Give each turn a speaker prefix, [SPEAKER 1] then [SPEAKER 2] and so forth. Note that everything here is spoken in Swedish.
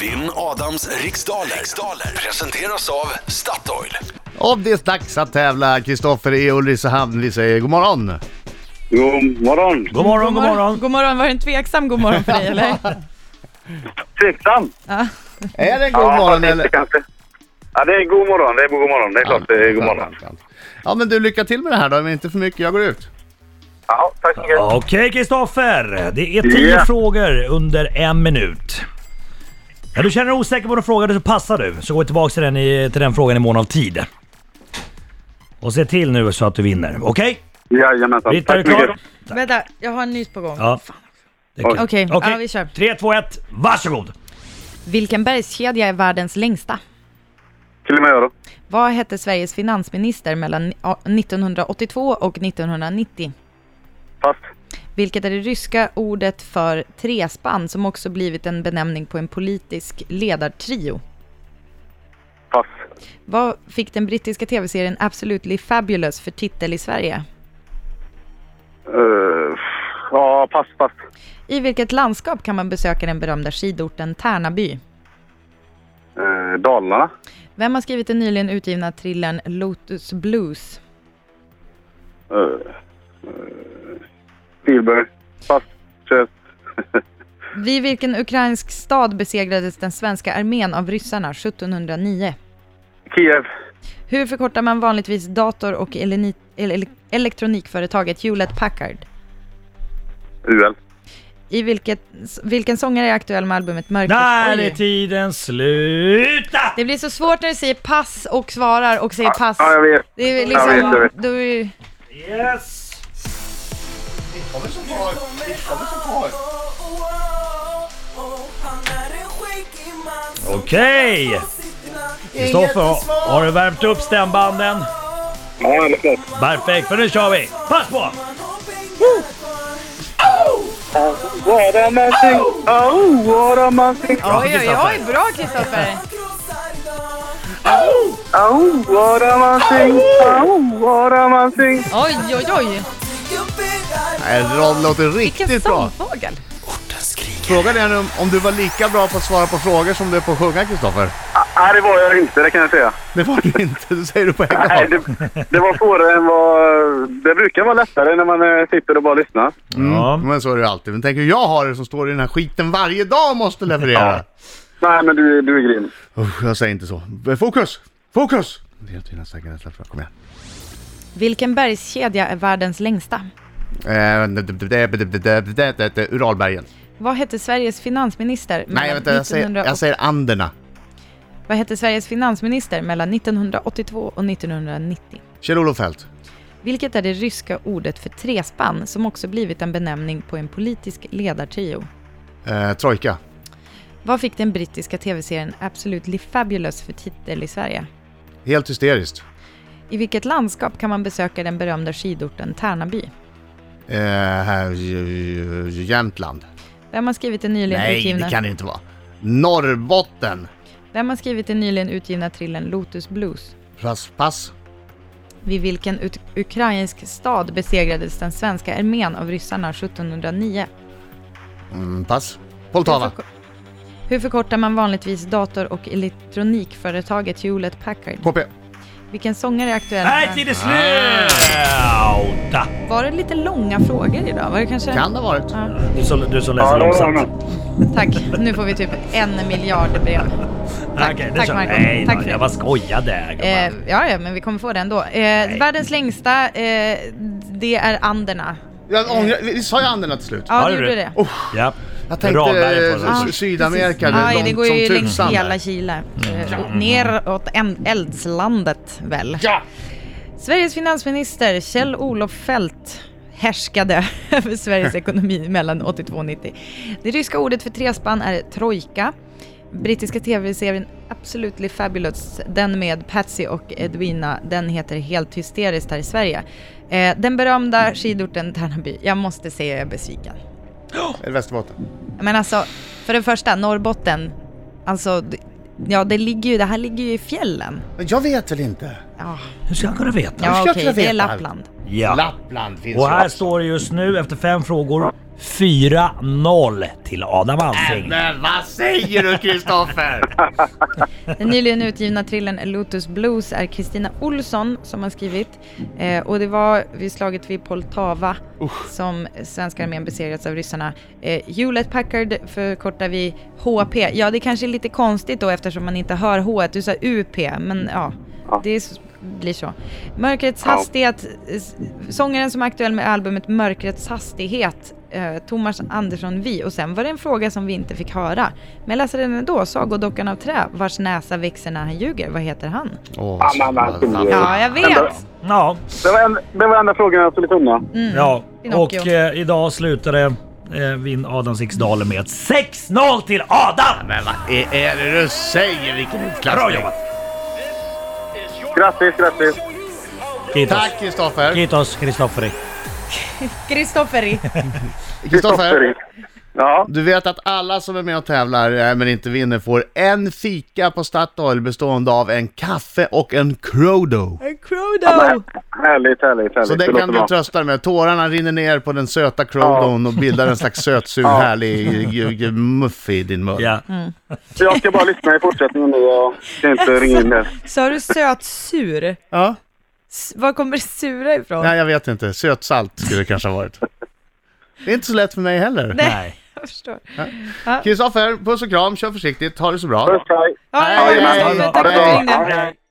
[SPEAKER 1] Vinn Adams riksdaler. riksdaler presenteras av Statoil.
[SPEAKER 2] Och det är dags att tävla. Kristoffer E. i Ulricehamn, vi säger god morgon.
[SPEAKER 3] God morgon.
[SPEAKER 4] God morgon, god morgon.
[SPEAKER 5] God morgon, var det en tveksam god morgon för dig eller?
[SPEAKER 3] Tveksam.
[SPEAKER 5] Ja.
[SPEAKER 2] Är det en god morgon
[SPEAKER 3] fast inte
[SPEAKER 2] eller?
[SPEAKER 3] kanske. Ja, det är god morgon. Det är god morgon. Det är klart det är god morgon.
[SPEAKER 2] Ja men du, lycka till med det här då, men inte för mycket. Jag går ut.
[SPEAKER 3] Ja, tack så mycket.
[SPEAKER 4] Okej Kristoffer, det är tio
[SPEAKER 3] Ja.
[SPEAKER 4] frågor under en minut. När du känner dig osäker på vad du frågade så passar du, så gå tillbaka till den, i, till den frågan i mån av tid. Och se till nu så att du vinner, okej?
[SPEAKER 3] Jajamensan.
[SPEAKER 4] Britta, är
[SPEAKER 3] Tack så
[SPEAKER 4] du klar?
[SPEAKER 3] mycket.
[SPEAKER 5] Vänta, jag har en nytt på gång.
[SPEAKER 4] Ja.
[SPEAKER 3] Oj.
[SPEAKER 5] Okej,
[SPEAKER 4] Okej.
[SPEAKER 5] ja, vi kör.
[SPEAKER 4] 3, 2, 1, varsågod!
[SPEAKER 5] Vilken bergskedja är världens längsta?
[SPEAKER 3] Kilimanjaro.
[SPEAKER 5] Vad hette Sveriges finansminister mellan ni- ja, 1982 och 1990?
[SPEAKER 3] Pass.
[SPEAKER 5] Vilket är det ryska ordet för trespann som också blivit en benämning på en politisk ledartrio?
[SPEAKER 3] Pass.
[SPEAKER 5] Vad fick den brittiska tv-serien Absolutely Fabulous för titel i Sverige?
[SPEAKER 3] Eh, ja, pass, pass.
[SPEAKER 5] I vilket landskap kan man besöka den berömda skidorten Tärnaby?
[SPEAKER 3] Eh, Dalarna.
[SPEAKER 5] Vem har skrivit den nyligen utgivna thrillern Lotus Blues?
[SPEAKER 3] Eh, eh, Spielberg. Pass. Kör.
[SPEAKER 5] Vid vilken ukrainsk stad besegrades den svenska armén av ryssarna 1709?
[SPEAKER 3] Kiev.
[SPEAKER 5] Hur förkortar man vanligtvis dator och eleni- el- el- elektronikföretaget Hewlett Packard?
[SPEAKER 3] UL.
[SPEAKER 5] I vilket, vilken sångare är aktuell med albumet Mörkrets
[SPEAKER 4] Där
[SPEAKER 5] Oj.
[SPEAKER 4] är tiden slut!
[SPEAKER 5] Det blir så svårt när du säger pass och svarar och säger pass.
[SPEAKER 3] Ja, jag vet.
[SPEAKER 5] Det är
[SPEAKER 3] Jag vet, jag
[SPEAKER 5] liksom,
[SPEAKER 3] vet.
[SPEAKER 5] då är ju-
[SPEAKER 4] Yes! Okej! Kristoffer, har- har du värmt upp stämbanden?
[SPEAKER 3] Ja, eller klart.
[SPEAKER 4] Perfekt, för nu kör vi! Pass på!
[SPEAKER 3] What a man thing. Oh, what a man thing.
[SPEAKER 5] Oj, oj, oj, bra Kristoffer!
[SPEAKER 3] Oh, what a man thing. Oh, what a man thing.
[SPEAKER 5] Oj, oj, oj!
[SPEAKER 2] Nej, Ron låter
[SPEAKER 5] Vilken
[SPEAKER 2] riktigt bra.
[SPEAKER 5] sångfågel!
[SPEAKER 2] Frågan är nu om- om du var lika bra på att svara på frågor som du är på att sjunga, Kristoffer.
[SPEAKER 3] Nej, det var jag inte. Det kan jag säga.
[SPEAKER 2] Det var du inte, det säger du på en
[SPEAKER 3] Nej,
[SPEAKER 2] gång.
[SPEAKER 3] det, det var svårare än vad... Det brukar vara lättare när man eh, sitter och bara lyssnar.
[SPEAKER 4] Ja.
[SPEAKER 2] Men så är det ju alltid. Men tänk hur jag har det som står i den här skiten varje dag och måste leverera.
[SPEAKER 3] Nej, men du, du är grym.
[SPEAKER 2] Usch, jag säger inte så. Eh, Fokus! Fokus! Det är till nästa, nästa, nästa. Kom igen.
[SPEAKER 5] Vilken bergskedja är världens längsta?
[SPEAKER 2] Eh, det- det- det- det- det- det- det- det- det- Uralbergen.
[SPEAKER 5] Vad hette Sveriges finansminister
[SPEAKER 2] Nej,
[SPEAKER 5] mellan
[SPEAKER 2] vänta, jag säger,
[SPEAKER 5] 1900
[SPEAKER 2] jag säger Anderna.
[SPEAKER 5] Vad hette Sveriges finansminister mellan 1982 och 1990?
[SPEAKER 2] Kjell-Olof Fält.
[SPEAKER 5] Vilket är det ryska ordet för trespann som också blivit en benämning på en politisk ledartrio?
[SPEAKER 2] Eh, trojka.
[SPEAKER 5] Vad fick den brittiska tv-serien Absolutely Fabulous för titel i Sverige?
[SPEAKER 2] Helt hysteriskt.
[SPEAKER 5] I vilket landskap kan man besöka den berömda skidorten Tärnaby?
[SPEAKER 2] Eh, här, j- j- j- Jämtland.
[SPEAKER 5] Vem har skrivit den nyligen
[SPEAKER 2] Nej,
[SPEAKER 5] utgivna...
[SPEAKER 2] det kan det inte vara. Norrbotten.
[SPEAKER 5] Vem har skrivit den nyligen utgivna thrillern Lotus Blues?
[SPEAKER 2] Pass, pass.
[SPEAKER 5] Vid vilken ut- ukrainsk stad besegrades den svenska armén av ryssarna 1709?
[SPEAKER 2] Mm, pass.
[SPEAKER 5] Hur,
[SPEAKER 2] Poltava.
[SPEAKER 5] förko- Hur förkortar man vanligtvis dator och elektronikföretaget Hewlett Packard?
[SPEAKER 2] KP.
[SPEAKER 5] Vilken sångare är aktuell?
[SPEAKER 4] Här är tiden slut!
[SPEAKER 5] Var det lite långa frågor idag? Var det kanske...
[SPEAKER 2] Kan det ha varit.
[SPEAKER 4] Du som, du som
[SPEAKER 3] Ja,
[SPEAKER 4] läser
[SPEAKER 3] det var
[SPEAKER 4] långsamt.
[SPEAKER 3] bra.
[SPEAKER 5] Tack, nu får vi typ en miljard brev.
[SPEAKER 4] Tack,
[SPEAKER 5] tack, Marco.
[SPEAKER 4] Nej,
[SPEAKER 5] Tack
[SPEAKER 4] då,
[SPEAKER 5] för
[SPEAKER 4] jag
[SPEAKER 5] det.
[SPEAKER 4] bara skojade.
[SPEAKER 5] Eh,
[SPEAKER 4] gumman.
[SPEAKER 5] ja, ja, men vi kommer få det ändå. Eh, världens längsta, eh, det är Anderna.
[SPEAKER 2] Jag ångrar, vi sa ju Anderna till slut.
[SPEAKER 5] Ja,
[SPEAKER 4] Ja,
[SPEAKER 5] du
[SPEAKER 4] det är
[SPEAKER 5] gjorde
[SPEAKER 4] det.
[SPEAKER 5] det.
[SPEAKER 4] Ja.
[SPEAKER 2] Jag tänkte
[SPEAKER 4] Ramberget var det.
[SPEAKER 2] eh, Sy- Sydamerika, det är
[SPEAKER 5] Aj,
[SPEAKER 2] långt
[SPEAKER 5] det går
[SPEAKER 2] som
[SPEAKER 5] ju längs
[SPEAKER 2] tusan.
[SPEAKER 5] hela Chile. Eh, Neråt en- eldslandet väl? Ja! Sveriges finansminister Kjell-Olof Fält härskade över Sveriges ekonomi mellan 82 och 90. Det ryska ordet för trespann är trojka. Brittiska tv-serien Absolutely Fabulous, den med Patsy och Edwina, den heter Helt hysteriskt här i Sverige. Eh, den berömda skidorten Tärnaby, jag måste säga jag är besviken.
[SPEAKER 2] Eller Västerbotten.
[SPEAKER 5] Men alltså, för det första, Norrbotten, alltså, d- ja det ligger ju, det här ligger ju i fjällen.
[SPEAKER 2] Men jag vet väl inte?
[SPEAKER 5] Ja,
[SPEAKER 4] Hur ska han kunna veta?
[SPEAKER 5] ja
[SPEAKER 2] ska
[SPEAKER 5] okej,
[SPEAKER 2] jag
[SPEAKER 5] det är
[SPEAKER 2] veta allt.
[SPEAKER 5] Lappland.
[SPEAKER 4] Ja.
[SPEAKER 2] Lappland finns
[SPEAKER 4] Och här
[SPEAKER 2] ju.
[SPEAKER 4] står det just nu efter fem frågor 4-0 till Adam Alsing.
[SPEAKER 2] Men vad säger du Kristoffer?
[SPEAKER 5] Den nyligen utgivna trillen Lotus Blues är Kristina Olsson som har skrivit. Eh, och det var vid slaget vid Poltava som svenska armén besegrats av ryssarna. Eh, Hewlett Packard förkortar vi HP. Ja, det kanske är lite konstigt då eftersom man inte hör H. Du sa UP, men ja. Det är s- blir så. Mörkrets
[SPEAKER 3] Ja.
[SPEAKER 5] hastighet. s- eh, Sångaren som är aktuell med albumet Mörkrets hastighet, eh, Thomas Andersson Vi. Och sen var det en fråga som vi inte fick höra. Men jag läser den ändå. Sagodockan av trä, vars näsa växer när han ljuger. Vad heter han?
[SPEAKER 6] Åh,
[SPEAKER 3] Ah, men, men,
[SPEAKER 2] Ja,
[SPEAKER 5] Ja, jag
[SPEAKER 3] Ändå-
[SPEAKER 5] vet!
[SPEAKER 4] Ja,
[SPEAKER 3] Det var, en, det var enda frågan jag skulle kunna.
[SPEAKER 4] ja.
[SPEAKER 5] Pinocchio.
[SPEAKER 4] och eh, idag slutade eh, vinn Adam Sixdalen med 6-0 till Adam!
[SPEAKER 2] Men vad är, är det du säger? Vilken
[SPEAKER 4] Bra
[SPEAKER 2] utklassning.
[SPEAKER 4] jobbat!
[SPEAKER 3] Grattis, grattis.
[SPEAKER 4] Kitos.
[SPEAKER 2] Tack Kristoffer.
[SPEAKER 4] Kitos, Kristofferi.
[SPEAKER 5] Kristofferi.
[SPEAKER 2] Kristoffer.
[SPEAKER 3] Ja,
[SPEAKER 2] Du vet att alla som är med och tävlar eh, men inte vinner får en fika på Statoil bestående av en kaffe och en Crodo.
[SPEAKER 5] Crodo!
[SPEAKER 3] härligt, härligt, härligt.
[SPEAKER 2] Så det
[SPEAKER 3] låter
[SPEAKER 2] kan du
[SPEAKER 3] bra.
[SPEAKER 2] trösta dig med. Tårarna rinner ner på den söta Crodon och bildar en slags sötsur härlig eh, g- g- muff i din mun.
[SPEAKER 4] Ja.
[SPEAKER 3] Jag ska bara lyssna i fortsättningen nu och ska inte ringa in det.
[SPEAKER 5] Sa du sötsur?
[SPEAKER 2] Ja,
[SPEAKER 5] S- Var kommer det sura ifrån?
[SPEAKER 2] nej jag vet inte. Sötsalt skulle det kanske ha varit. Det är inte så lätt för mig heller.
[SPEAKER 4] Nej.
[SPEAKER 5] Jag förstår.
[SPEAKER 2] Kristoffer, puss och kram, kör försiktigt, ha det så bra.
[SPEAKER 3] Puss, hej.
[SPEAKER 5] Ja,
[SPEAKER 2] Nej,
[SPEAKER 5] Kristoffer,
[SPEAKER 2] nej,
[SPEAKER 5] Tack för att du ringde.
[SPEAKER 3] Hej, hej.